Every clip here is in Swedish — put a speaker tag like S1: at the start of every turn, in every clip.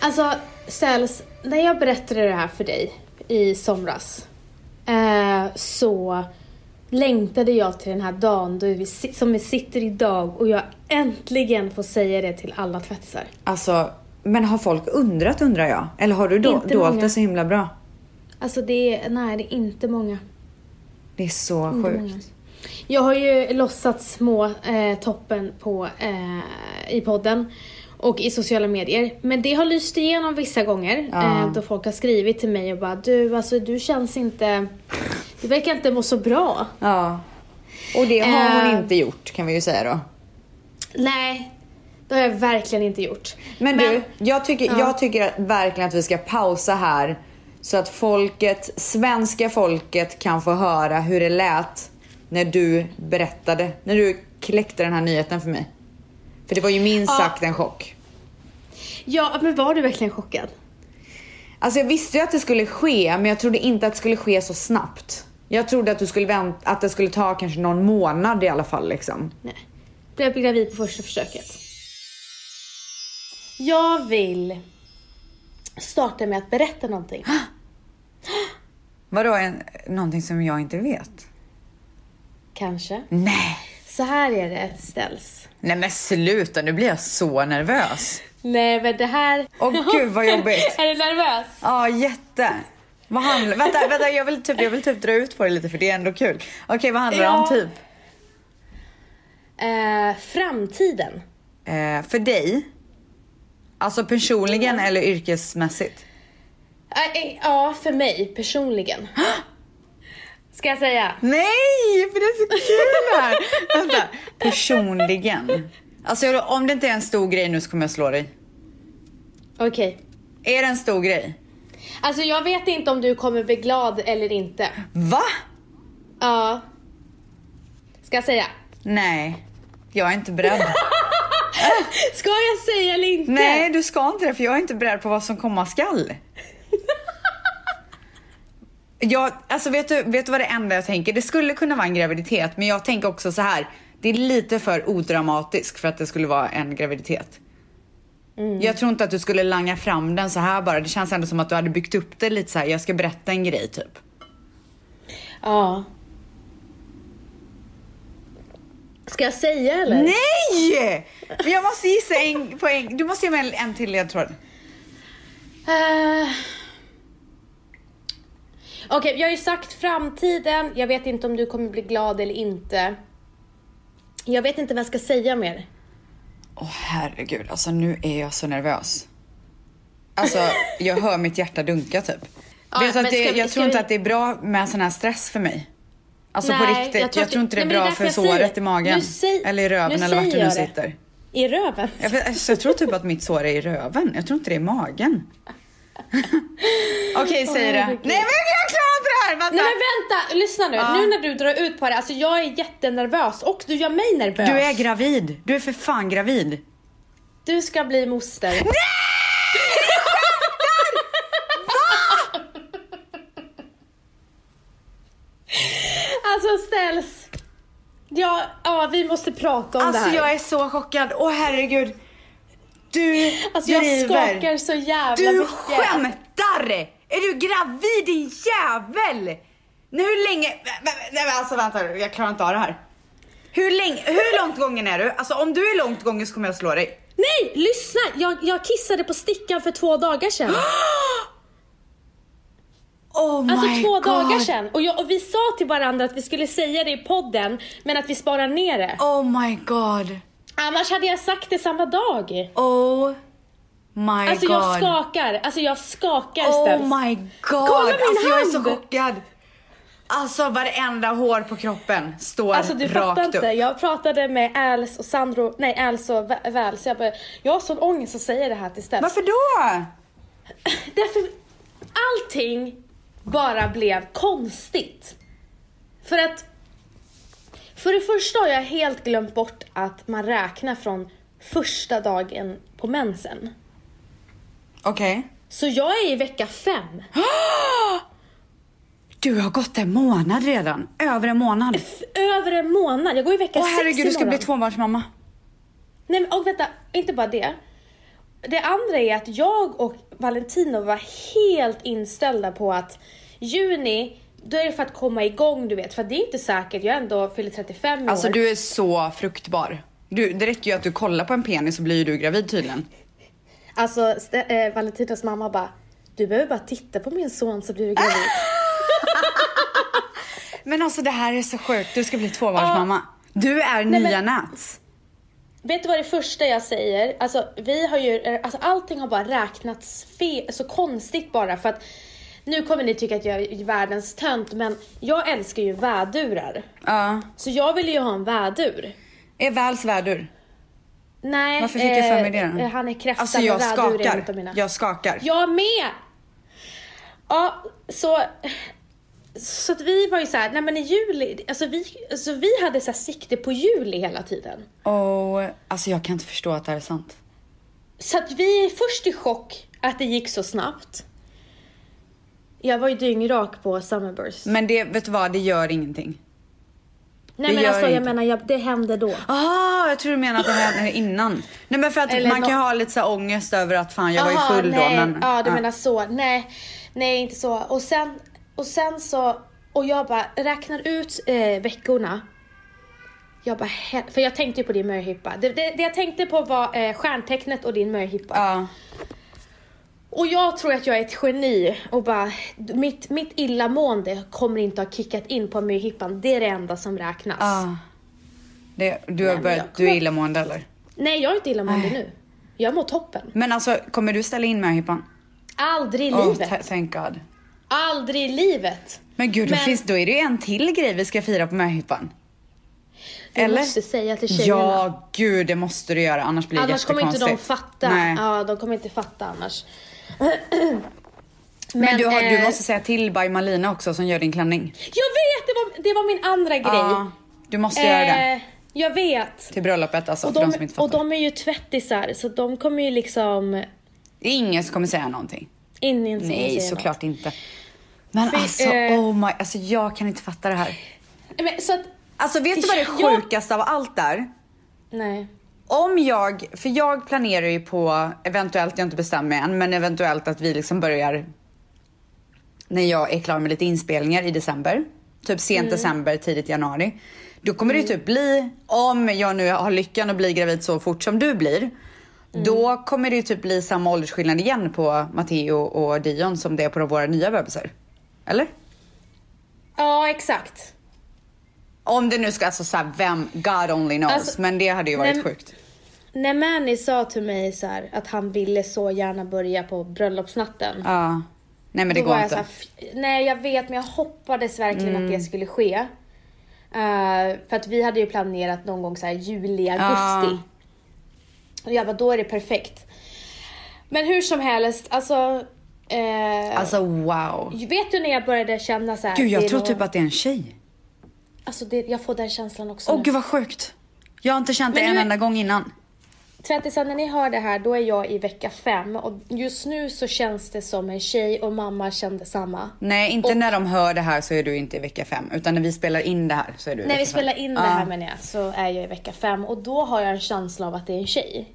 S1: Alltså, Säls, när jag berättade det här för dig i somras eh, så längtade jag till den här dagen då vi, si- som vi sitter idag och jag äntligen får säga det till alla tvättisar.
S2: Alltså, men har folk undrat undrar jag? Eller har du do-
S1: Inte
S2: dolt
S1: många.
S2: det så himla bra?
S1: Alltså det är, nej det är inte många.
S2: Det är så
S1: Inte
S2: sjukt.
S1: många. Jag har ju låtsats små eh, toppen på, eh, i podden och i sociala medier. Men det har lyst igenom vissa gånger
S2: Ja.
S1: eh, då folk har skrivit till mig och bara du, alltså du känns inte, du verkar inte må så bra.
S2: Ja. Och det har hon
S1: Eh.
S2: inte gjort kan vi ju säga då.
S1: Nej, det har jag verkligen inte gjort.
S2: Men, du, jag tycker,
S1: Ja.
S2: jag tycker att verkligen att vi ska pausa här. Så att folket, svenska folket kan få höra hur det lät när du berättade, när du kläckte den här nyheten för mig. För det var ju minst
S1: Ja.
S2: sagt en chock.
S1: Ja, men var du verkligen chockad?
S2: Alltså jag visste ju att det skulle ske, men jag trodde inte att det skulle ske så snabbt. Jag trodde att, du skulle vänt, att det skulle ta kanske någon månad i alla fall liksom.
S1: Nej. Blev gravid på första försöket. Jag vill starta med att berätta någonting.
S2: Vadå, en, någonting som jag inte vet?
S1: Kanske.
S2: Nej.
S1: Så här är det ställs.
S2: Nej men sluta, nu blir jag så nervös.
S1: Nej men det här...
S2: Åh, gud, vad jobbigt.
S1: är du nervös?
S2: Ja, jätte. Vad handlar... Vänta, vänta jag, vill typ, jag vill typ dra ut på det lite för det är ändå kul. Okej, vad handlar det om
S1: Ja.
S2: typ?
S1: Eh, framtiden.
S2: Eh, för dig? Alltså personligen eller yrkesmässigt?
S1: Eh, eh, ja, för mig personligen. Ska jag säga?
S2: Nej, för det är så kul här! vänta, personligen. Alltså jag- om det inte är en stor grej nu så kommer jag slå dig.
S1: Okej.
S2: Är det en stor grej?
S1: Alltså jag vet inte om du kommer bli glad eller inte.
S2: Va?
S1: Ja. Ska jag säga?
S2: Nej, jag är inte beredd.
S1: Ska jag säga eller inte?
S2: Nej, du ska inte det för jag är inte beredd på vad som komma skall. Jag, alltså vet du, vet du vad det enda jag tänker? Det skulle kunna vara en graviditet, men jag tänker också så här. Det är lite för odramatisk för att det skulle vara en graviditet. Jag tror inte att du skulle langa fram den så här bara. Det känns ändå som att du hade byggt upp det lite så här. Jag ska berätta en grej typ.
S1: Ja. Ska jag säga eller?
S2: Nej! Men jag måste gissa en poäng. Du måste ge mig en, en till ledtråd.
S1: Eh. Okej, jag har ju sagt framtiden. Jag vet inte om du kommer bli glad eller inte. Jag vet inte vad jag ska säga mer.
S2: Åh herregud, alltså nu är jag så nervös. Alltså jag hör mitt hjärta dunka typ.
S1: Ja,
S2: Vet du att
S1: men
S2: det,
S1: ska vi-
S2: jag
S1: ska
S2: tror inte
S1: vi-
S2: att det är bra med sån här stress för mig. Alltså på
S1: Nej,
S2: riktigt, jag tror,
S1: att du-
S2: inte det är
S1: Nej, men
S2: bra
S1: därför
S2: för
S1: jag säger
S2: såret
S1: det.
S2: i magen.
S1: Nu säg-
S2: eller i röven
S1: nu
S2: eller vart
S1: säger
S2: du nu
S1: jag det.
S2: sitter.
S1: I röven?
S2: Jag, vet- alltså, jag tror typ att mitt sår är i röven, jag tror inte det är i magen. Okej, säg det. Nej
S1: herregud.
S2: men jag klarar inte det här! Vänta!
S1: Nej men vänta, lyssna nu.
S2: Ja.
S1: Nu när du drar ut på det, alltså jag är jättenervös och du gör mig nervös.
S2: du är gravid, du är för fan gravid.
S1: Du ska bli moster. Nej! alltså ställs. Ja, ja, vi måste prata om det
S2: Alltså
S1: här.
S2: jag är så chockad, åh herregud. Du
S1: alltså, jag
S2: driver.
S1: skakar så jävla
S2: Du
S1: mycket.
S2: skämtar! Är du gravid din jävel? Nej, hur länge... Nej, men- nej men alltså vänta, jag klarar inte av det här. Hur, länge, hur långt gången är du? Alltså om du är långt gången så kommer jag slå dig.
S1: Nej, lyssna! Jag, jag kissade på stickan för två dagar sedan.
S2: Oh
S1: Alltså
S2: my
S1: två
S2: God.
S1: dagar sedan. Och, jag, och vi sa till varandra att vi skulle säga det i podden, men att vi sparar ner det.
S2: Oh my god.
S1: Annars hade jag sagt det samma dag.
S2: Oh my
S1: Alltså
S2: god.
S1: jag skakar, alltså jag skakar ställs.
S2: Oh my god.
S1: Kolla min
S2: alltså jag är så
S1: hand.
S2: chockad. Alltså varenda hår på kroppen står
S1: Alltså du
S2: rakt
S1: fattar
S2: upp.
S1: inte, jag pratade med Als och Sandro, nej Als och Vä- Väl, så jag bara, jag har sån ångest att säga det här till Stens.
S2: Varför då?
S1: Därför, allting bara blev konstigt. För att, för det första har jag helt glömt bort att man räknar från första dagen på mensen.
S2: Okej.
S1: Så jag är i vecka fem.
S2: Du har gått en månad redan. Över en månad.
S1: Över en månad, jag går i vecka
S2: Åh
S1: sex
S2: herregud, du ska
S1: imorgon.
S2: bli tvåbarnsmamma.
S1: Nej men och vänta, inte bara det. det andra är att jag och Valentino var helt inställda på att juni, då är det för att komma igång du vet. För att det är inte säkert, jag är ändå fyller 35 i
S2: Alltså
S1: år.
S2: du är så fruktbar. Du, det räcker ju att du kollar på en penis så blir ju du gravid tydligen.
S1: Alltså st- eh, Valentinos mamma bara, du behöver bara titta på min son så blir du gravid.
S2: Men alltså det här är så sjukt, du ska bli tvåbarnsmamma. Ah. Du är
S1: Nej,
S2: nya
S1: men-
S2: Nats.
S1: Vet du vad det första jag säger? Alltså, vi har ju, alltså allting har bara räknats fel, så konstigt bara för att nu kommer ni tycka att jag är världens tönt men jag älskar ju vädurar.
S2: Ja.
S1: Så jag ville ju ha en vädur.
S2: Är väl svärdur.
S1: Nej,
S2: Varför fick jag för mig
S1: eh,
S2: det?
S1: eh, Han är kräftan
S2: Alltså
S1: och
S2: jag
S1: vädur är en av
S2: skakar.
S1: mina.
S2: Jag skakar.
S1: Jag med! Ja, så... Så att vi var ju så här, nej men i juli, alltså vi, alltså vi hade så här sikte på juli hela tiden.
S2: Och, alltså jag kan inte förstå att det här är sant.
S1: Så att vi är först i chock att det gick så snabbt. Jag var ju dyngrak på Summerburst.
S2: Men det, vet du vad, det gör ingenting.
S1: Nej men
S2: gör
S1: alltså jag
S2: inte.
S1: menar, jag, det hände då.
S2: Ah, jag tror du menar att det händer innan. Nej men för att
S1: Eller
S2: man kan ju
S1: nå-
S2: ha lite så här ångest över att fan jag var ju full
S1: nej.
S2: då men.
S1: Ja, du
S2: ja.
S1: menar så. Nej, nej inte så. Och sen, och sen så, och jag bara räknar ut eh, veckorna. Jag bara, hel- för jag tänkte ju på din möhippa. Det, det, det jag tänkte på var eh, stjärntecknet och din möhippa.
S2: Ja.
S1: Och jag tror att jag är ett geni och bara, mitt, mitt illamående kommer inte ha kickat in på möhippan. Det är det enda som räknas.
S2: ja. Det, du, har
S1: men
S2: börjat,
S1: jag
S2: du är
S1: kommer-
S2: illamående eller?
S1: Nej, jag är inte illamående nu. Jag mår toppen.
S2: Men alltså kommer du ställa in möhippan?
S1: Aldrig i
S2: Oh,
S1: livet.
S2: ta- thank god.
S1: Aldrig i livet.
S2: Men gud, då,
S1: Men-
S2: finns, då är det ju en till grej vi ska fira på möhippan.
S1: Du
S2: Eller?
S1: måste säga till tjejerna.
S2: Ja, gud det måste du göra annars blir det
S1: Annars kommer inte de
S2: jättekonstigt.
S1: fatta.
S2: Nej.
S1: Ja, de kommer inte fatta annars.
S2: Men, du, har, du
S1: eh,
S2: måste säga till by Malina också som gör din klänning.
S1: Jag vet! Det var, det var min andra grej.
S2: Ja, du måste göra det.
S1: Eh, Jag vet.
S2: Till bröllopet alltså,
S1: Och
S2: för de,
S1: de,
S2: som inte fattar.
S1: och de är ju tvättisar, så de kommer ju liksom...
S2: Det är ingen som kommer säga någonting.
S1: Ingen som
S2: Nej,
S1: säger
S2: såklart inte. Men
S1: För,
S2: alltså,
S1: eh,
S2: oh my, alltså jag kan inte fatta det här.
S1: något. Men, så att,
S2: Alltså vet du vad det
S1: Jag-
S2: sjukaste av allt är?
S1: nej.
S2: Om jag, för jag planerar ju på, eventuellt, jag har inte bestämt mig än, men eventuellt att vi liksom börjar när jag är klar med lite inspelningar i december. Typ sent
S1: Mm.
S2: december, tidigt januari. Då kommer det ju typ bli, om jag nu har lyckan att bli gravid så fort som du blir.
S1: Mm.
S2: Då kommer det ju typ bli samma åldersskillnad igen på Matteo och Dion som det är på våra nya bebisar. Eller?
S1: Ja, exakt.
S2: Om det nu ska, alltså såhär, vem, God only knows.
S1: Alltså,
S2: men det hade ju varit
S1: nej,
S2: sjukt.
S1: När Mani sa till mig så här, att han ville så gärna börja på bröllopsnatten.
S2: Ja. Nej men det
S1: Då var
S2: går
S1: jag
S2: inte. Mm.
S1: såhär, "F- nej jag vet men jag hoppades verkligen att det skulle ske. Eh, för att vi hade ju planerat någon gång så här juli, augusti. Och jag bara, då är det perfekt. Men hur som helst, alltså. eh,
S2: Alltså wow.
S1: Vet du när jag började känna så här.
S2: Gud,
S1: det
S2: jag
S1: är
S2: tror
S1: nog-
S2: typ att det är en tjej.
S1: Alltså det, jag får den känslan också
S2: Åh
S1: nu.
S2: gud vad sjukt. Jag har inte känt det
S1: Men
S2: en
S1: nu-
S2: enda gång innan.
S1: Tvättisar, när ni hör det här, då är jag i vecka fem. Och just nu så känns det som en tjej och mamma kände samma.
S2: Nej, inte
S1: Och-
S2: när de hör det här så är du inte i vecka fem. Utan när vi spelar in det här så är du i
S1: När vi
S2: vecka fem.
S1: spelar in det
S2: Liksom. Ja.
S1: här menar jag, så är jag i vecka fem. Och då har jag en känsla av att det är en tjej.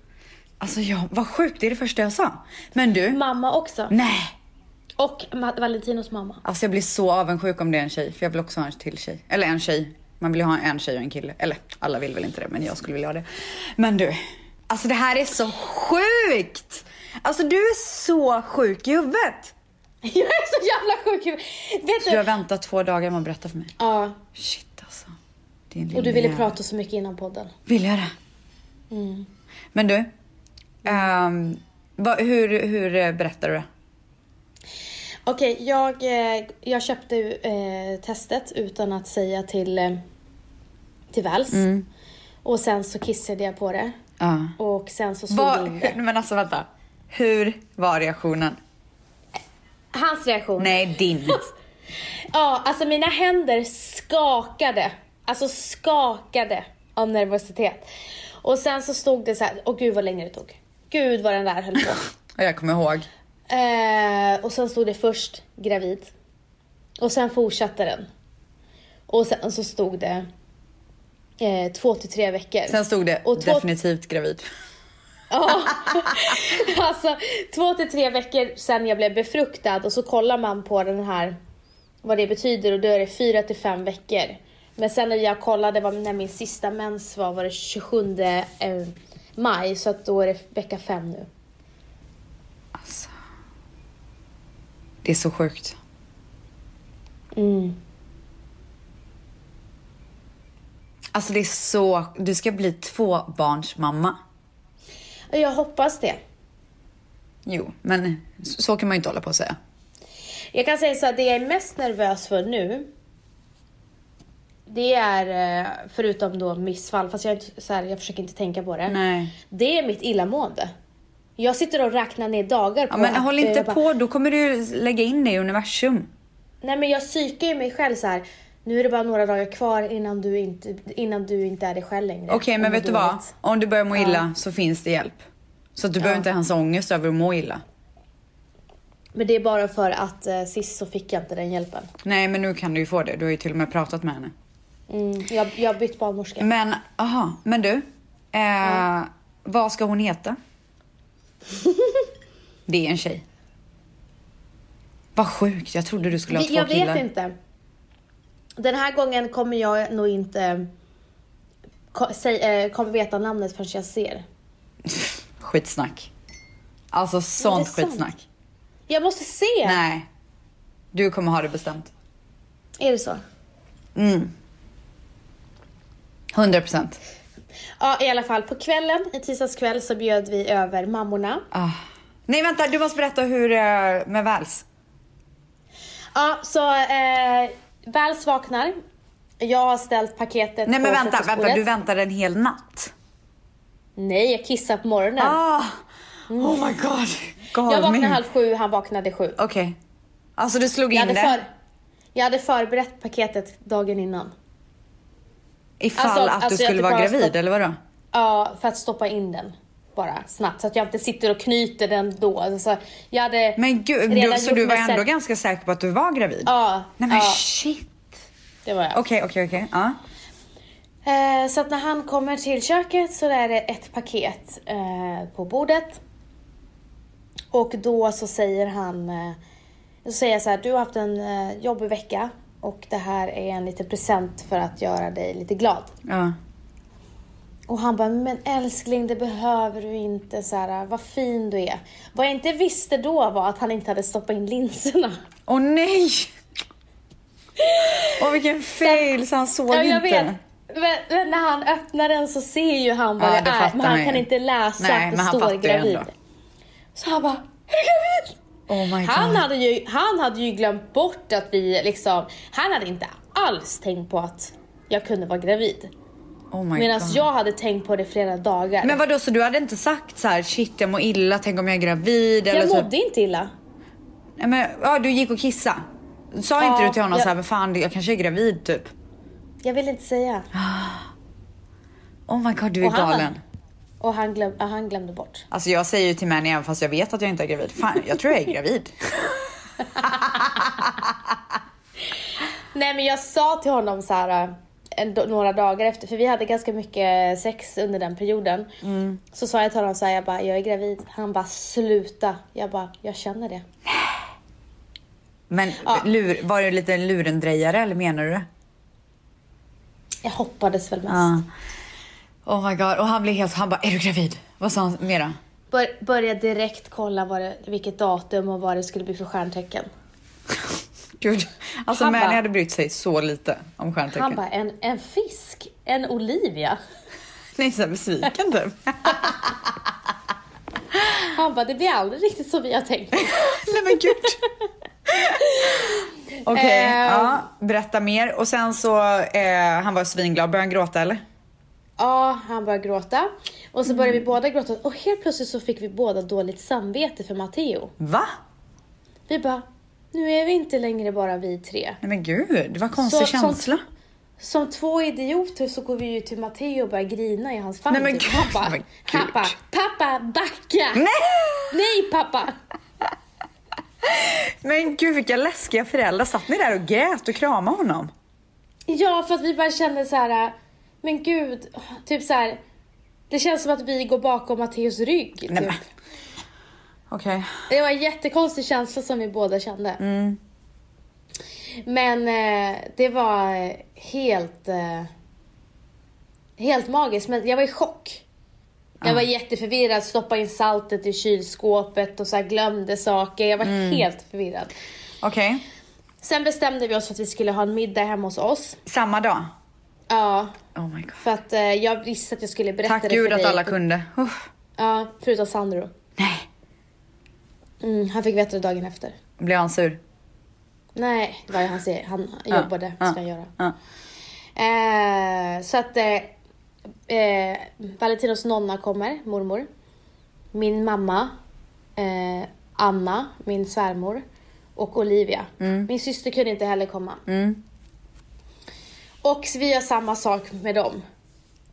S2: Alltså ja, vad sjukt, det är det första jag sa. Men du,
S1: Mamma också.
S2: nej.
S1: Och Ma- Valentinos mamma.
S2: Alltså jag blir så avundsjuk om det är en tjej. För jag vill också ha en till tjej. Eller en tjej. Man vill ju ha en tjej och en kille. Eller alla vill väl inte det, men jag skulle vilja ha det. Men du, alltså det här är så sjukt! Alltså du är så sjuk i huvudet.
S1: Jag är så jävla sjuk i huvudet. Vet
S2: Du har
S1: du?
S2: väntat två dagar med att berätta för mig.
S1: Ja,
S2: Shit alltså. Din
S1: och du
S2: lilla
S1: ville
S2: jävel.
S1: prata Mm. så mycket innan podden.
S2: Vill jag det? Men du. ehm, vad- hur, hur eh, berättar du det?
S1: Okej, jag, eh, jag köpte eh, testet utan att säga till, eh, till Vals. Och sen så kissade jag på det.
S2: Mm. Ja.
S1: Och sen så slog jag
S2: Vad,
S1: in det.
S2: hur, men alltså vänta. Hur var reaktionen?
S1: Hans reaktion.
S2: Nej, din.
S1: Ja, alltså mina händer skakade. Alltså skakade av nervositet. Och sen så stod det så här, åh gud vad länge det tog. Gud vad den där höll på.
S2: Och jag kommer ihåg.
S1: Eh, och sen stod det först gravid. Och sen fortsatte den. Och sen så stod det eh, två till tre veckor.
S2: Sen stod det
S1: Och två-
S2: definitivt gravid.
S1: Ja, alltså två till tre veckor sedan jag blev befruktad och så kollar man på den här vad det betyder och då är det fyra till fem veckor. Men sen när jag kollade vad, när min sista mens var, var det 27 eh, maj så att då är det vecka fem nu.
S2: Alltså. Det är så sjukt.
S1: Mm.
S2: Alltså det är så... Du ska bli tvåbarnsmamma.
S1: Jag hoppas det.
S2: Jo, men så så kan man ju inte hålla på och säga.
S1: Jag kan säga så att det jag är mest nervös för nu det är, eh, förutom då missfall, fast jag, är inte, så här, jag försöker inte tänka på det.
S2: Nej.
S1: Det är mitt illamående. Jag sitter och räknar ner dagar på
S2: Ja, men
S1: att,
S2: håll
S1: eh,
S2: inte
S1: jag bara-
S2: på, då kommer du lägga in det i universum.
S1: Nej men jag psykar ju mig själv så här. Nu är det bara några dagar kvar innan du inte, innan du inte är dig själv längre.
S2: Okej,
S1: Och
S2: men
S1: mår
S2: vet du vad?
S1: dåligt.
S2: Om du börjar må illa så finns det hjälp. Så att du behöver inte ens ha ångest över att må illa.
S1: Men det är bara för att eh, sist så fick jag inte den hjälpen.
S2: Nej, men nu kan du ju få det. Du har ju till och med pratat med henne.
S1: Mm, jag, jag har bytt barnmorska.
S2: Men, aha, men du. Eh, Vad ska hon heta? det är en tjej. Vad sjukt, jag trodde du skulle ha
S1: Vi-
S2: två
S1: jag
S2: killar.
S1: vet inte. Den här gången kommer jag nog inte eh, ko- säg, eh, kommer veta namnet förrän jag ser.
S2: Skitsnack. Alltså sånt
S1: sant.
S2: skitsnack.
S1: Jag måste se!
S2: Nej. Du kommer ha det bestämt.
S1: Är det så?
S2: 100 procent.
S1: Ja, i alla fall på kvällen, i tisdags kväll så bjöd vi över mammorna.
S2: Ah. Nej vänta, du måste berätta hur eh, med Vals.
S1: Ja, så eh, väl vaknar. Jag har ställt paketet
S2: Nej men
S1: på
S2: vänta, vänta,
S1: frukostbordet.
S2: du väntar en hel natt.
S1: Nej, jag kissar på morgonen.
S2: Ah. Oh my god.
S1: Mm. jag
S2: Galning.
S1: vaknade halv sju, han vaknade sju.
S2: Okej. Alltså du
S1: Jag
S2: slog in
S1: hade,
S2: det?
S1: för, jag hade förberett paketet dagen innan.
S2: Ifall
S1: Alltså,
S2: att
S1: alltså,
S2: du
S1: jag
S2: skulle
S1: typ
S2: vara
S1: bara
S2: gravid
S1: stopp-
S2: eller vadå?
S1: Ja, för att stoppa in den bara snabbt så att jag inte sitter och knyter den då. Alltså, jag hade
S2: Men gud, du,
S1: redan
S2: så
S1: gjort
S2: du var
S1: mig
S2: ändå
S1: säker-
S2: ganska säker på att du var gravid?
S1: Ja,
S2: Nej men
S1: ja.
S2: shit.
S1: Det var jag.
S2: Okej, okej, okej. Ja.
S1: Eh, så att när han kommer till köket så är det ett paket eh, på bordet. Och då så säger han, eh, så säger jag så här, du har haft en eh, jobbig vecka och det här är en liten present för att göra dig lite glad.
S2: Ja.
S1: Och han bara, men älskling det behöver du inte, så här, vad fin du är. Vad jag inte visste då var att han inte hade stoppat in linserna.
S2: Åh nej! Åh vilken fail, så han såg
S1: Ja, jag
S2: inte.
S1: vet. Men, men när han öppnar den så ser ju han vad
S2: Ja,
S1: det,
S2: det
S1: är,
S2: fattar
S1: men han
S2: han ju.
S1: kan inte läsa
S2: Nej,
S1: att det
S2: men han
S1: står
S2: fattar ju
S1: gravid.
S2: ändå.
S1: Så han bara, är du gravid?
S2: Oh my
S1: Han
S2: god.
S1: hade, ju, han hade ju glömt bort att vi liksom, han hade inte alls tänkt på att jag kunde vara gravid.
S2: Oh my
S1: Medan
S2: god.
S1: jag hade tänkt på det flera dagar.
S2: Men vadå, så du hade inte sagt så här, shit jag mår illa, tänk om jag är gravid eller
S1: jag
S2: typ...
S1: mådde inte illa.
S2: Nej, men, ja, du gick och kissa. Sa
S1: Ja,
S2: inte du till honom
S1: jag-
S2: så här, vad fan jag kanske är gravid typ?
S1: Jag ville inte säga.
S2: Oh my god du är
S1: Och han-
S2: galen.
S1: Och han, glöm, ja, han glömde bort.
S2: Alltså jag säger ju till män även fast jag vet att jag inte är gravid. Fan jag tror jag är gravid.
S1: Nej men jag sa till honom så här eh, en, några dagar efter, för vi hade ganska mycket sex under den perioden. Så sa jag till honom så här, jag bara, jag är gravid. Han bara, sluta. Jag bara, jag känner det.
S2: Men lur, var du lite lurendrejare eller menar du det?
S1: Jag hoppades väl mest.
S2: Ja. Oh my god och han blev helt, han bara är du gravid? Vad sa han mera?
S1: Bör, började direkt kolla vad det, vilket datum och vad det skulle bli för stjärntecken.
S2: Gud. Alltså
S1: Han
S2: Mani
S1: bara-
S2: hade brytt sig så lite om stjärntecken.
S1: Han bara, en, en fisk? En Olivia?
S2: Nej så här besviken typ.
S1: Han bara, det blir aldrig riktigt som vi har tänkt.
S2: Nej men gud. Okej,
S1: Eh.
S2: ja, berätta mer. Och sen så, eh, han var svinglad. Började han gråta eller?
S1: Ja, han började gråta. Och så började vi båda gråta och helt plötsligt så fick vi båda dåligt samvete för Matteo.
S2: Va?
S1: Vi bara, nu är vi inte längre bara vi tre.
S2: Nej men gud, vad konstig
S1: Så- sånt-
S2: känsla.
S1: Som två idioter så går vi ju till Matteo och börjar grina i hans famn.
S2: Nej, men
S1: typ.
S2: gud,
S1: Han bara,
S2: men gud.
S1: pappa, pappa, backa!
S2: Nej!
S1: Nej pappa!
S2: Men gud vilka läskiga föräldrar. Satt ni där och grät och kramade honom?
S1: Ja, för att vi bara kände så här, men gud, typ så här, Det känns som att vi går bakom Matteos rygg.
S2: Nej,
S1: typ.
S2: men. Okej.
S1: Det var en jättekonstig känsla som vi båda kände.
S2: Mm.
S1: Men eh, det var eh, helt, eh, helt magiskt. Men jag var i chock. Jag
S2: Ah.
S1: var jätteförvirrad, stoppade in saltet i kylskåpet och så här glömde saker. Jag var
S2: Mm.
S1: helt förvirrad.
S2: Okej.
S1: Sen bestämde vi oss för att vi skulle ha en middag hemma hos oss.
S2: Samma dag?
S1: Ja,
S2: Oh my god.
S1: för att eh, jag visste att jag skulle berätta
S2: Tack
S1: det för
S2: gud
S1: dig.
S2: att alla kunde. Uff.
S1: Ja, förutom Sandro.
S2: Nej.
S1: Mm, han fick veta det dagen efter.
S2: Blev han sur?
S1: Nej, det var ju han säger. Han
S2: Ja,
S1: jobbade,
S2: ja,
S1: ska han göra.
S2: Ja.
S1: Eh, så att eh, eh, Valentinos nonna kommer, mormor. Min mamma, eh, Anna, min svärmor och Olivia. Min syster kunde inte heller komma.
S2: Mm.
S1: Och så vi gör samma sak med dem.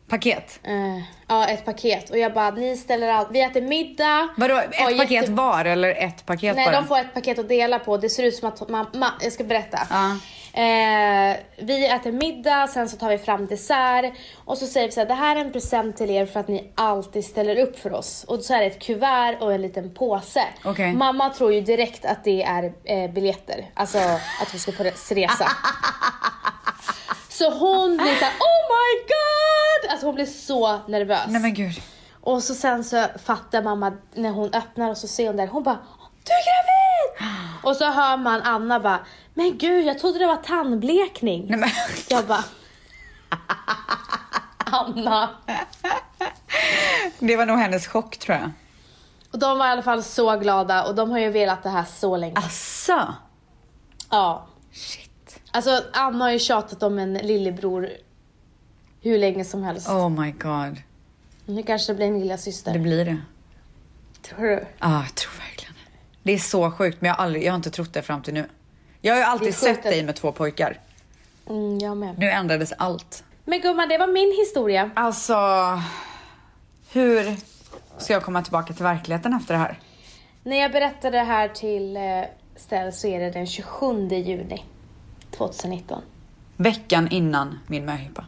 S2: Paket?
S1: Eh, ja, ett paket. Och jag bara, ni ställer allt. Vi äter middag.
S2: Vadå,
S1: Ja,
S2: ett
S1: jätte-
S2: paket var eller ett paket
S1: Nej,
S2: bara?
S1: de får ett paket att dela på. Det ser ut som att mamma... Jag ska berätta.
S2: Ja.
S1: Eh, vi äter middag, sen så tar vi fram dessert och så säger vi så här, det här är en present till er för att ni alltid ställer upp för oss. Och så är det ett kuvert och en liten påse.
S2: Okej.
S1: Mamma tror ju direkt att det är eh, biljetter, alltså att vi ska på res- resa. så hon blir såhär, oh my god! Alltså hon blir så nervös.
S2: Nej men gud.
S1: Och så sen så fattar mamma när hon öppnar och så ser hon där, hon bara Du är gravid! Och så hör man Anna bara Men gud jag trodde det var tandblekning.
S2: Nej, men...
S1: Jag bara Anna.
S2: Det var nog hennes chock tror jag.
S1: Och de var i alla fall så glada och de har ju velat det här så länge.
S2: Asså?
S1: Ja.
S2: Shit.
S1: Alltså Anna har ju tjatat om en lillebror hur länge som helst.
S2: Oh my god.
S1: Nu kanske det blir en lilla syster.
S2: Det blir det.
S1: Tror du?
S2: Ja, jag tror verkligen det. Det är så sjukt, men jag har, aldrig, jag har inte trott det fram till nu. Jag har ju
S1: Det är
S2: alltid
S1: sjukt
S2: sett
S1: att-
S2: dig med två pojkar.
S1: Mm, jag med.
S2: Nu ändrades allt.
S1: Men gumman det var min historia.
S2: Alltså, hur ska jag komma tillbaka till verkligheten efter det här?
S1: När jag berättade det här till eh, Stell så är det den 27 juni 2019.
S2: Veckan innan min möhippa.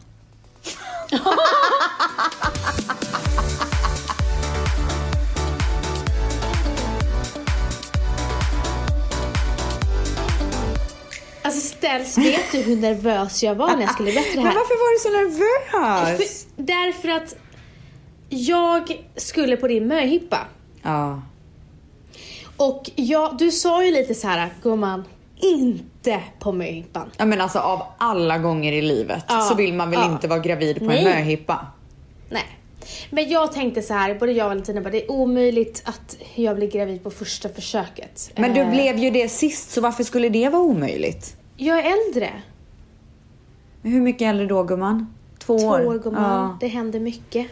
S1: Alltså Ställs, vet du hur nervös jag var när jag skulle berätta det
S2: Men
S1: här?
S2: varför var du så nervös?
S1: För, därför att jag skulle på din möhippa.
S2: Ja.
S1: Och jag, du sa ju lite så här, gumman, inte på möhippan.
S2: ja, men alltså av alla gånger i livet
S1: Ja,
S2: så vill man väl
S1: ja.
S2: inte vara gravid på
S1: Nej.
S2: en möhippa?
S1: Nej. Men jag tänkte så här, både jag och Valentina bara, det är omöjligt att jag blir gravid på första försöket.
S2: Men du
S1: Eh,
S2: blev ju det sist, så varför skulle det vara omöjligt?
S1: Jag är äldre.
S2: Hur mycket äldre då gumman? Två
S1: Två
S2: år?
S1: år gumman,
S2: Ja.
S1: det händer mycket.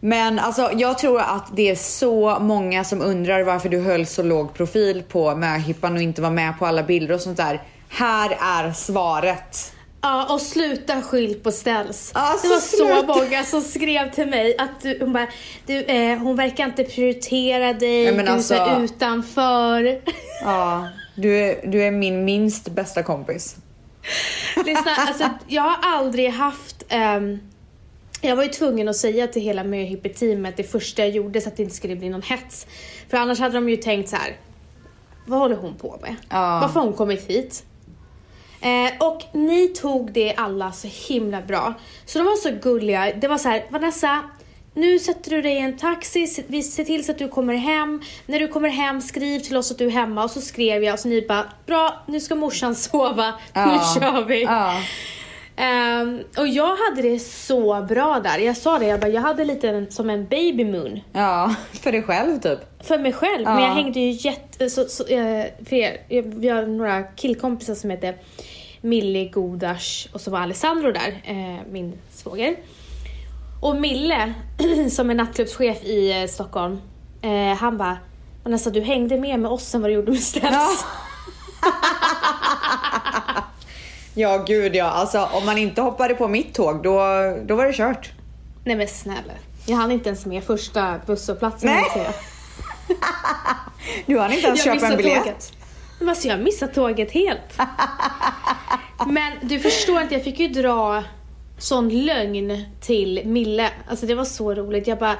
S2: Men alltså, jag tror att det är så många som undrar varför du höll så låg profil på möhippan och inte var med på alla bilder och sånt där. Här är svaret.
S1: Ja, och sluta skyll på ställs.
S2: Alltså,
S1: det var så
S2: sluta.
S1: många som skrev till mig att du, hon bara, du, eh, hon verkar inte prioritera dig,
S2: Ja, men
S1: du är så
S2: alltså-
S1: utanför.
S2: Ja, du är, du är min minst bästa kompis.
S1: Lyssna, alltså, jag har aldrig haft ehm, jag var ju tvungen att säga till hela möhippe-teamet det första jag gjorde så att det inte skulle bli någon hets. För annars hade de ju tänkt så här. Vad håller hon på med?
S2: Ja.
S1: Varför har hon kommit hit? Eh, och ni tog det alla så himla bra. Så de var så gulliga. Det var så här, Vanessa, nu sätter du dig i en taxi, se- vi ser till så att du kommer hem. När du kommer hem, skriv till oss att du är hemma. Och så skrev jag och så ni bara, bra, nu ska morsan sova,
S2: Ja.
S1: nu kör vi.
S2: Ja.
S1: Ehm, och jag hade det så bra där. Jag sa det, jag, bara, jag hade lite en, som en baby moon
S2: Ja, för dig själv typ.
S1: för mig själv.
S2: Ja.
S1: Men jag hängde ju jätte... Så, så, eh, för er, jag, vi har några killkompisar som heter Mille, Godash och så var Alessandro där, eh, min svåger. Och Mille, som är nattklubbschef i eh, Stockholm, eh, han bara Vanessa du hängde mer med oss än vad du gjorde med Ställs.
S2: Ja. Ja, gud ja. Alltså om man inte hoppade på mitt tåg då, då var det kört.
S1: Nej men snälla. Jag hann inte ens med första busshållplatsen.
S2: Nej.
S1: kan jag säga.
S2: Du hann inte ens
S1: Jag
S2: köpa en
S1: missade
S2: biljett.
S1: tåget. Men alltså jag missade tåget helt. Men du förstår inte, jag fick ju dra sån lögn till Mille. Alltså det var så roligt. Jag bara,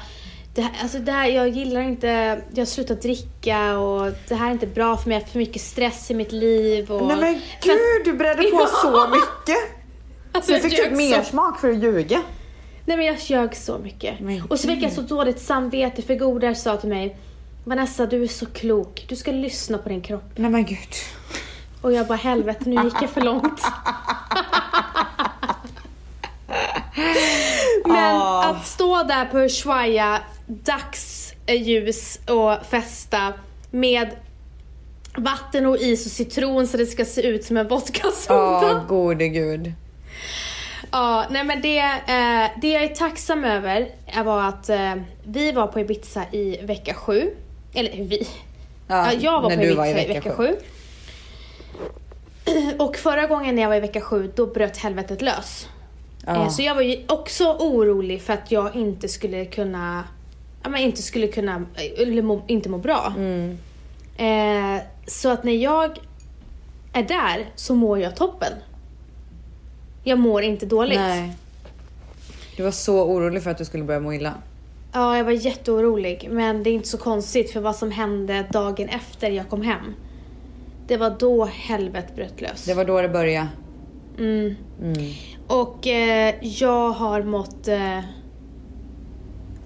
S1: det här, alltså det här, jag gillar inte, jag har slutat dricka och det här är inte bra för mig, jag har för mycket stress i mitt liv. Och,
S2: Nej men
S1: För att-
S2: gud, du bredde på så mycket.
S1: Alltså,
S2: Du fick
S1: jag
S2: typ
S1: ljög
S2: mer
S1: så-
S2: smak för att ljuga.
S1: Nej men jag ljög så mycket.
S2: Men
S1: och så fick jag så dåligt samvete för Godar sa till mig Vanessa du är så klok, du ska lyssna på din kropp.
S2: Nej men gud.
S1: Och jag bara helvete nu gick jag för långt. Men
S2: Ah.
S1: att stå där på Ushuaia, dagsljus och festa med vatten och is och citron så det ska se ut som en vodkasoppa.
S2: Ja, gode gud.
S1: Ja, nej men det, eh, det jag är tacksam över är var att eh, vi var på Ibiza i vecka sju. Eller vi. Ja, jag var
S2: när
S1: på
S2: du
S1: Ibiza
S2: var
S1: i vecka
S2: sju.
S1: sju. Och förra gången när jag var i vecka sju, då bröt helvetet lös.
S2: Ja.
S1: Eh, Så jag var ju också orolig för att jag inte skulle kunna, ja men inte skulle kunna, eh, eller må, inte må bra.
S2: Mm.
S1: Eh, så att när jag är där så mår jag toppen. Jag mår inte dåligt.
S2: Nej. Du var så orolig för att du skulle börja må illa.
S1: Ja, jag var jätteorolig. Men det är inte så konstigt för vad som hände dagen efter jag kom hem. Det var då helvetet bröt lös.
S2: Det var då det började.
S1: Mm.
S2: Mm.
S1: Och eh, jag har mått eh,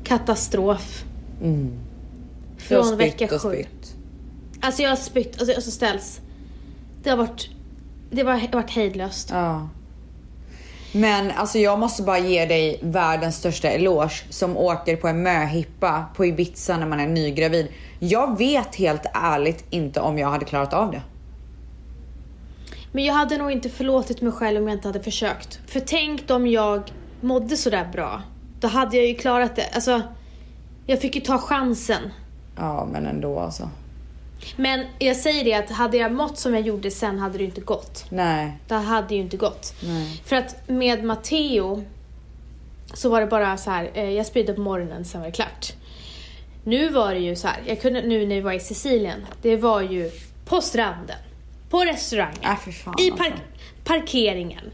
S1: katastrof
S2: Mm. Du har
S1: från
S2: spytt
S1: vecka
S2: och
S1: sju.
S2: spytt.
S1: Alltså jag har spytt och alltså, ställs. Det har varit, det har varit- varit hejdlöst.
S2: Ja. Men alltså jag måste bara ge dig världens största eloge som åker på en möhippa på Ibiza när man är nygravid. Jag vet helt ärligt inte om jag hade klarat av det.
S1: Men jag hade nog inte förlåtit mig själv om jag inte hade försökt. För tänk om jag mådde sådär bra. Då hade jag ju klarat det. Alltså, jag fick ju ta chansen.
S2: Ja men ändå alltså.
S1: Men jag säger det att hade jag mått som jag gjorde sen hade det ju inte gått.
S2: Nej.
S1: Det hade ju inte gått.
S2: Nej.
S1: För att med Matteo så var det bara så här, eh, jag spydde på morgonen, sen var det klart. Nu var det ju så här, jag kunde, nu när vi var i Sicilien, det var ju på stranden, på restaurangen,
S2: Äh, fy fan,
S1: i
S2: alltså.
S1: park- parkeringen,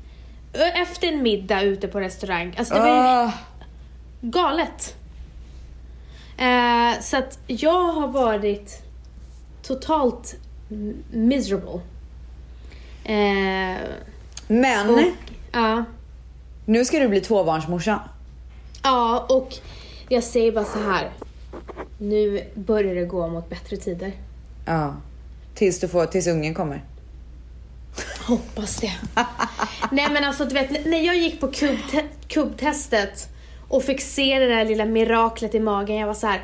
S1: ö- efter en middag ute på restaurang. Alltså det var ju
S2: Ah,
S1: galet. Eh, så att jag har varit totalt m- miserable. Eh,
S2: men
S1: och, ja.
S2: nu ska du bli tvåbarnsmorsa.
S1: ja, och jag säger bara så här. Nu börjar det gå mot bättre tider.
S2: Ja. Tills, du får, tills ungen kommer.
S1: Hoppas det. Nej men alltså du vet, när jag gick på kubte- kubtestet och fick se det där lilla miraklet i magen, jag var så här.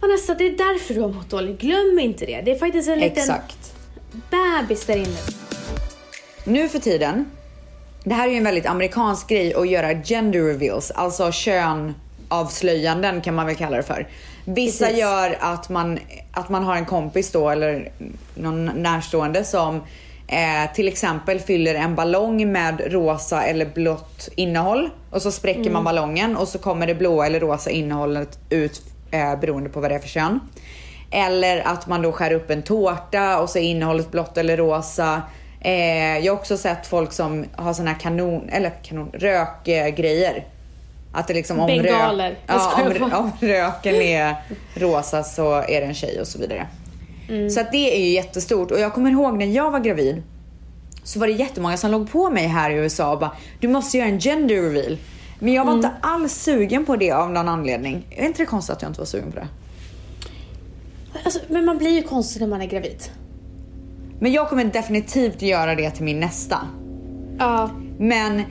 S1: Vanessa, det är därför du har mått dåligt. Glöm inte det. Det är faktiskt en liten
S2: Exakt.
S1: bebis där inne.
S2: Nu för tiden, det här är ju en väldigt amerikansk grej att göra gender reveals, alltså könavslöjanden kan man väl kalla det för. Vissa
S1: Precis.
S2: gör att man, att man har en kompis då eller någon närstående som eh, till exempel fyller en ballong med rosa eller blått innehåll och så spräcker
S1: Mm.
S2: man ballongen och så kommer det blåa eller rosa innehållet ut eh, beroende på vad det är för kön. Eller att man då skär upp en tårta och så är innehållet blått eller rosa. Eh, jag har också sett folk som har såna här kanon, eller kanon, rökgrejer. Att det liksom om,
S1: Bengaler.
S2: rök,
S1: Jag
S2: ja,
S1: skojar
S2: om,
S1: bara.
S2: om röken är rosa så är det en tjej och så vidare. Så att det är ju jättestort och jag kommer ihåg när jag var gravid så var det jättemånga som låg på mig här i USA och bara du måste göra en gender reveal. Men jag var inte alls sugen på det av någon anledning. Är inte det konstigt att jag inte var sugen på det?
S1: Alltså, men man blir ju konstig när man är gravid.
S2: Men jag kommer definitivt göra det till min nästa.
S1: Ja.
S2: Men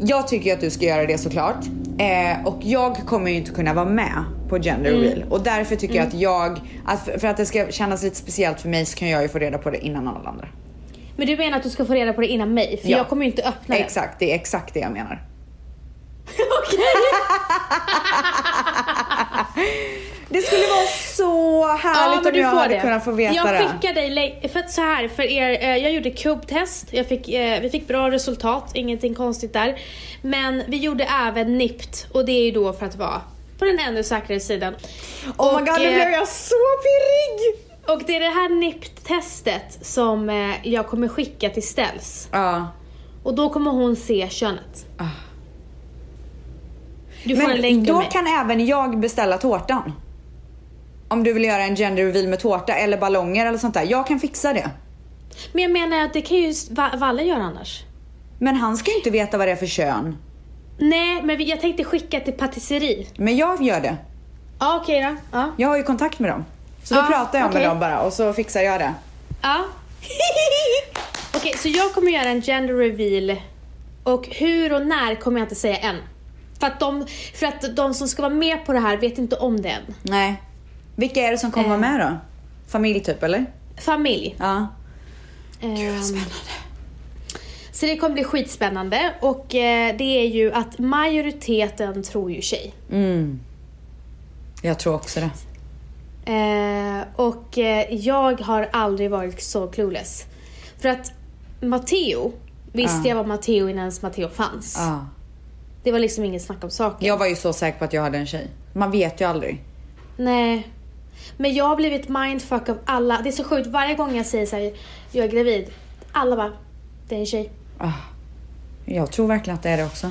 S2: jag tycker ju att du ska göra det såklart. Eh, och jag kommer ju inte kunna vara med på gender
S1: Mm.
S2: reveal. Och därför tycker jag att jag, att för, för att det ska kännas lite speciellt för mig så kan jag ju få reda på det innan alla andra.
S1: Men du menar att du ska få reda på det innan mig? För
S2: Ja.
S1: jag kommer ju inte öppna den.
S2: Exakt, det är exakt det jag menar.
S1: Okej.
S2: Det skulle vara så härligt om jag hade kunnat få veta
S1: jag
S2: det.
S1: skickar dig lä- för att så här för er, eh, jag gjorde kubtest, jag fick, eh, vi fick bra resultat, ingenting konstigt där. Men vi gjorde även NIPT och det är ju då för att vara på den ännu säkrare sidan.
S2: Oh my god, nu
S1: eh,
S2: blev jag så pirrig!
S1: och det är det här NIPT-testet som eh, jag kommer skicka till Ställs.
S2: Ja.
S1: Och då kommer hon se könet.
S2: Ah.
S1: Du får en
S2: Men
S1: länk av
S2: då
S1: mig.
S2: kan även jag beställa tårtan. Om du vill göra en gender reveal med tårta eller ballonger eller sånt där. Jag kan fixa det.
S1: Men jag menar att det kan ju Va- Valle göra annars.
S2: Men han ska ju inte veta vad det är för kön.
S1: Nej, men vi- jag tänkte skicka till patisseri.
S2: Men jag gör det.
S1: Ja, okej då. Ja.
S2: Jag har ju kontakt med dem. Så då
S1: Ja,
S2: pratar jag
S1: okej.
S2: med dem bara och så fixar jag det.
S1: ja. Okej, så jag kommer göra en gender reveal. Och hur och när kommer jag inte säga än. För att, de, för att de som ska vara med på det här vet inte om det än.
S2: Nej. Vilka är det som kommer vara med då? Familj typ eller?
S1: Familj.
S2: Ja.
S1: Ehm,
S2: Spännande.
S1: Så det kommer bli skitspännande och eh, det är ju att majoriteten tror ju tjej.
S2: Mm. Jag tror också det.
S1: Eh, och eh, jag har aldrig varit så clueless. För att Matteo, visste
S2: Ja.
S1: jag var Matteo innan ens Matteo fanns.
S2: Ja.
S1: Det var liksom inget snack om saken.
S2: Jag var ju så säker på att jag hade en tjej. Man vet ju aldrig.
S1: Nej. Men jag har blivit mindfuck av alla. Det är så sjukt, varje gång jag säger så här, jag är gravid. Alla bara, det är en tjej.
S2: Ah. Jag tror verkligen att det är det också.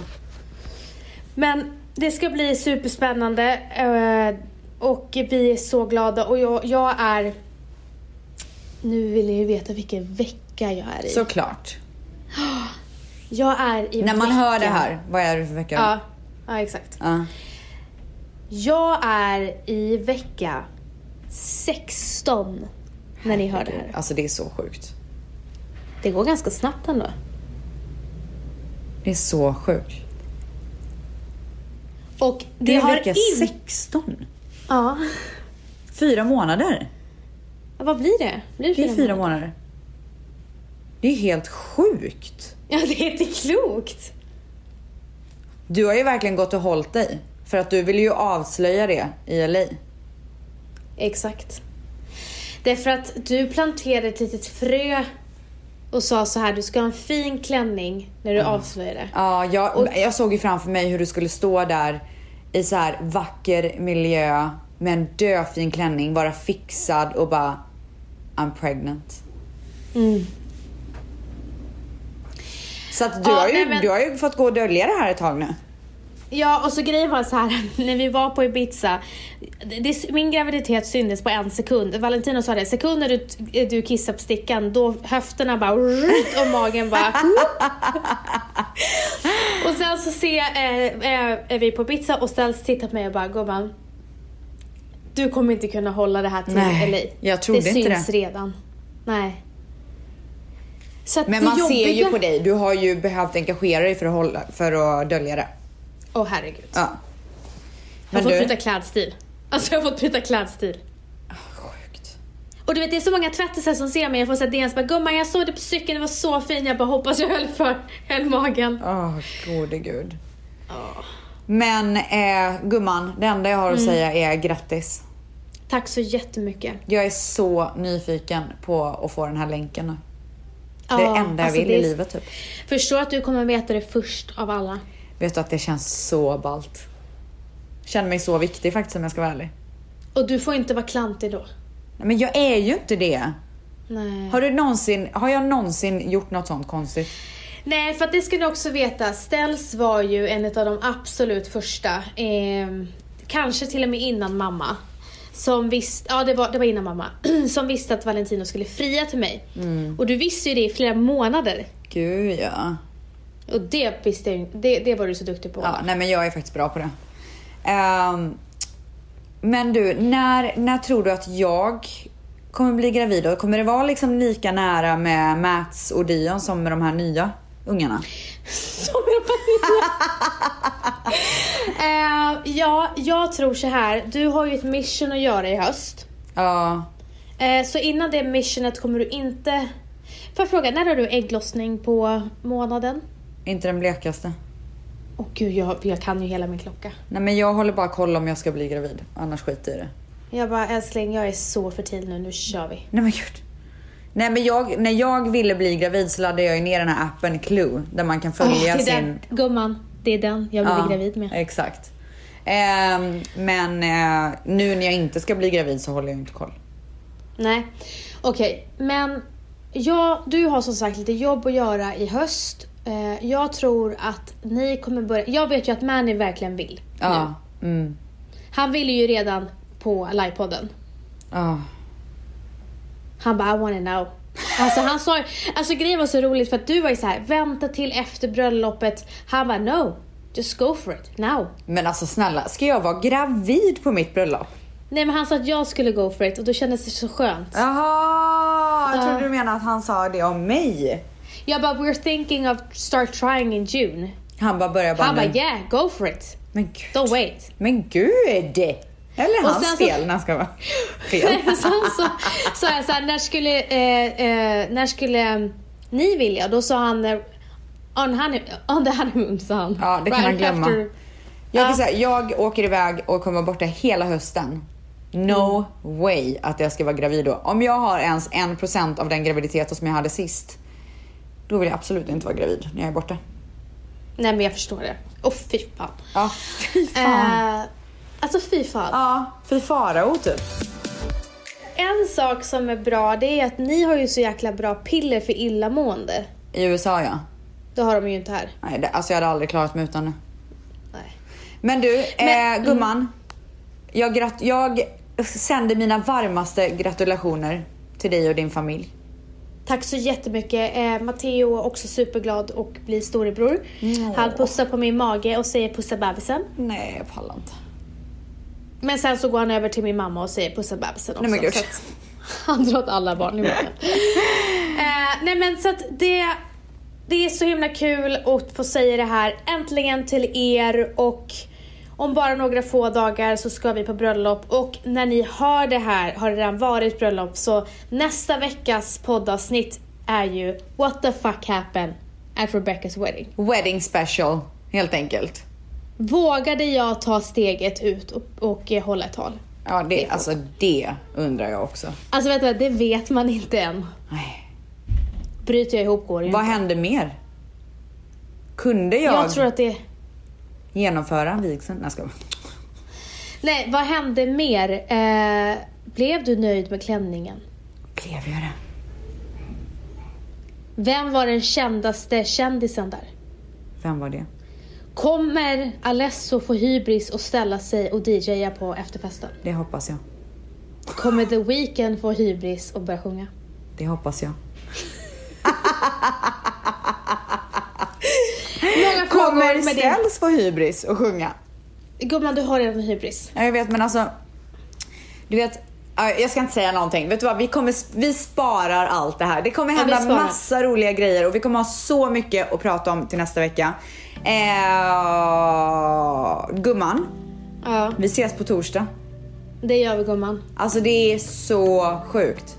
S1: Men det ska bli superspännande eh, och vi är så glada och jag, jag är... Nu vill ni ju veta vilken vecka jag är i.
S2: Såklart.
S1: jag är i
S2: När man
S1: veckan.
S2: hör det här, vad är det för vecka?
S1: Ja, ja exakt.
S2: Ja.
S1: Jag är i vecka 16 när ni hör det här.
S2: Alltså det är så sjukt.
S1: Det går ganska snabbt ändå.
S2: Det är så sjukt.
S1: Och det,
S2: Det är
S1: har
S2: vecka
S1: in...
S2: 16.
S1: Ja.
S2: Fyra månader.
S1: Vad blir det? Blir
S2: Det är fyra månader. Det är helt sjukt.
S1: Ja, det är inte klokt.
S2: Du har ju verkligen gått och hållit dig. För att du ville ju avslöja det i LA.
S1: Exakt. Därför att du planterade ett litet frö och sa så här, du ska ha en fin klänning när du avslöjar det.
S2: Ja, jag, jag såg ju framför mig hur du skulle stå där i så här vacker miljö med en döfin klänning, vara fixad och bara I'm pregnant.
S1: Mm.
S2: Så att du,
S1: Ja,
S2: har ju,
S1: nej, men-
S2: du har ju fått gå och dölja det här ett tag nu.
S1: Ja, och så grejen var så här, när vi var på Ibiza, det, det, min graviditet syntes på en sekund. Valentino sa det, sekunder du, du kissar på stickan, då höfterna bara och magen bara Och sen så ser jag, eh, eh, är vi på Ibiza och Stels tittar på mig och bara, gumman. Du kommer inte kunna hålla det här till
S2: Nej,
S1: LA.
S2: jag trodde
S1: det
S2: inte
S1: syns
S2: det.
S1: redan. Nej. Så att
S2: Men
S1: det
S2: man ser ju
S1: jobbiga-
S2: på dig, du har ju behövt engagera dig för att, hålla, för att dölja det.
S1: Åh herregud.
S2: Ja.
S1: Jag
S2: Men
S1: har fått
S2: du,
S1: byta klädstil. Alltså jag har fått byta klädstil.
S2: sjukt.
S1: Och du vet det är så många tvättisar som ser mig, jag får såhär DNs bara “gumman jag såg det på cykeln, det var så fint, jag bara hoppas jag höll för, höll magen”.
S2: Åh, gode gud. Men eh, gumman, det enda jag har
S1: Mm.
S2: att säga är grattis.
S1: Tack så jättemycket.
S2: Jag är så nyfiken på att få den här länken nu. Det är
S1: Ja,
S2: det enda jag
S1: alltså,
S2: vill
S1: det
S2: i
S1: är-
S2: livet typ.
S1: Förstår att du kommer veta det först av alla.
S2: Vet du att det känns så ballt. Känner mig så viktig faktiskt om jag ska vara ärlig.
S1: Och du får inte vara klantig då.
S2: Nej, Men jag är ju inte det.
S1: Nej.
S2: Har, du någonsin, har jag någonsin gjort något sånt konstigt?
S1: Nej, för att det ska ni också veta, Ställs var ju en av de absolut första, eh, kanske till och med innan mamma. Som visste, ja det var, det var innan mamma, som visste att Valentino skulle fria till mig.
S2: Mm.
S1: Och du visste ju det i flera månader.
S2: Gud ja.
S1: Och det visste jag ju- det, det var du så duktig på.
S2: ja nej men jag är faktiskt bra på det. Ehm, men du, när, när tror du att jag kommer bli gravid? Då? Kommer det vara liksom lika nära med Mats och Dion som med de här nya ungarna?
S1: Som jag bara- Eh, ja, jag tror så här. Du har ju ett mission att göra i höst.
S2: Ja.
S1: Eh, så innan det missionet kommer du inte... Får jag fråga, när har du ägglossning på månaden?
S2: Inte den blekaste.
S1: Åh gud, jag, jag kan ju hela min klocka.
S2: Nej men jag håller bara koll om jag ska bli gravid. Annars skiter jag i det.
S1: Jag bara, älskling jag är så för tidig nu, nu kör vi.
S2: Nej men gud. Nej men jag, när jag ville bli gravid så laddade jag ju ner den här appen Clue. Där man kan
S1: Åh, det
S2: följa
S1: är
S2: sin...
S1: den, gumman. Det är den jag blev gravid med.
S2: Exakt. Ehm, men eh, nu när jag inte ska bli gravid så håller jag inte koll.
S1: Nej, okej. Men ja, du har som sagt lite jobb att göra i höst. Eh, jag tror att ni kommer börja... Jag vet ju att Mani verkligen vill.
S2: Ja. Mm.
S1: Han ville ju redan på livepodden.
S2: Ja.
S1: Han bara, I wanna know. Alltså han sa alltså grejen var så roligt för att du var ju så här, vänta till efter bröllopet. Han bara, no, just go for it, now.
S2: Men alltså snälla, ska jag vara gravid på mitt bröllop?
S1: Nej men han sa att jag skulle go for it och då kändes det så skönt.
S2: Jaha, jag
S1: Ja.
S2: trodde du menade att han sa det om mig.
S1: Jag bara, we're thinking of start trying in June.
S2: Han bara började bara
S1: Han bara,
S2: nu.
S1: yeah, go for it.
S2: Men gud.
S1: Don't wait.
S2: Men gud! Eller
S1: Och
S2: hans
S1: sen så-
S2: fel när han ska vara fel.
S1: Sen så sa jag så här, när skulle, eh, eh, när skulle eh, ni vilja? Då sa han, eh, on, honey, on the honeymoon sa han.
S2: Ja, det kan han glömma. Jag, kan säga, jag åker iväg och kommer vara borta hela hösten. No way att jag ska vara gravid då. Om jag har ens 1% av den graviditet som jag hade sist, då vill jag absolut inte vara gravid när jag är borta.
S1: Nej men jag förstår det. Åh fy fan.
S2: Ja, fy fan.
S1: Eh, alltså fy fan.
S2: Ja, fy farao typ.
S1: En sak som är bra det är att ni har ju så jäkla bra piller för illamående.
S2: I USA ja.
S1: Det har de ju inte här.
S2: Nej, det, alltså jag hade aldrig klarat mig utan det.
S1: Nej.
S2: Men du,
S1: Men-
S2: eh, gumman. Jag, grat- jag sänder mina varmaste gratulationer till dig och din familj.
S1: Tack så jättemycket. Eh, Matteo är också superglad och blir storebror. Han pussar på min mage och säger pussa bebisen.
S2: Nej, jag pallar inte.
S1: Men sen så går han över till min mamma och säger pussa bebisen också.
S2: Nej men gud.
S1: Så att han drar åt alla barn i magen. eh, nej men så att det, det är så himla kul att få säga det här äntligen till er och om bara några få dagar så ska vi på bröllop och när ni hör det här har det redan varit bröllop så nästa veckas poddavsnitt är ju What the fuck happened at Rebecca's wedding.
S2: Wedding special, helt enkelt.
S1: Vågade jag ta steget ut och, och eh, hålla ett tal?
S2: Ja, det, alltså det undrar jag också.
S1: Alltså vet du vad, det vet man inte än.
S2: Nej.
S1: Bryter jag ihop går det ju
S2: Vad
S1: inte.
S2: hände mer? Kunde jag,
S1: Jag tror att det...
S2: genomföra vigseln? Nej, ska jag
S1: Nej, vad hände mer? Eh, blev du nöjd med klänningen?
S2: Blev jag det?
S1: Vem var den kändaste kändisen där?
S2: Vem var det?
S1: Kommer Alesso få hybris och ställa sig och DJa på efterfesten?
S2: Det hoppas jag.
S1: Kommer The Weeknd få hybris och börja sjunga?
S2: Det hoppas jag.
S1: Många
S2: Kommer
S1: frågor med det.
S2: Stells få hybris och sjunga?
S1: Gumman, du har redan hybris.
S2: Ja, jag vet men alltså. Du vet, ja, jag ska inte säga någonting. Vet du vad? Vi, kommer, vi sparar allt det här. Det kommer
S1: Ja, vi
S2: hända
S1: sparar.
S2: massa roliga grejer och vi kommer ha så mycket att prata om till nästa vecka. Eh, gumman,
S1: Ja,
S2: vi ses på torsdag.
S1: det gör vi gumman.
S2: Alltså det är så sjukt.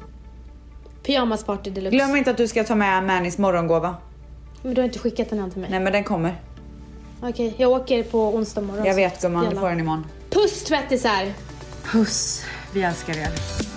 S1: Pyjamasparty deluxe.
S2: Glöm inte att du ska ta med Mannys morgongåva.
S1: Men du har inte skickat den än till mig.
S2: Nej men den kommer.
S1: Okej, jag åker på onsdag morgon.
S2: Jag
S1: så
S2: vet gumman, du
S1: jävla-
S2: får den imorgon.
S1: Puss tvättisar!
S2: Puss, vi älskar er.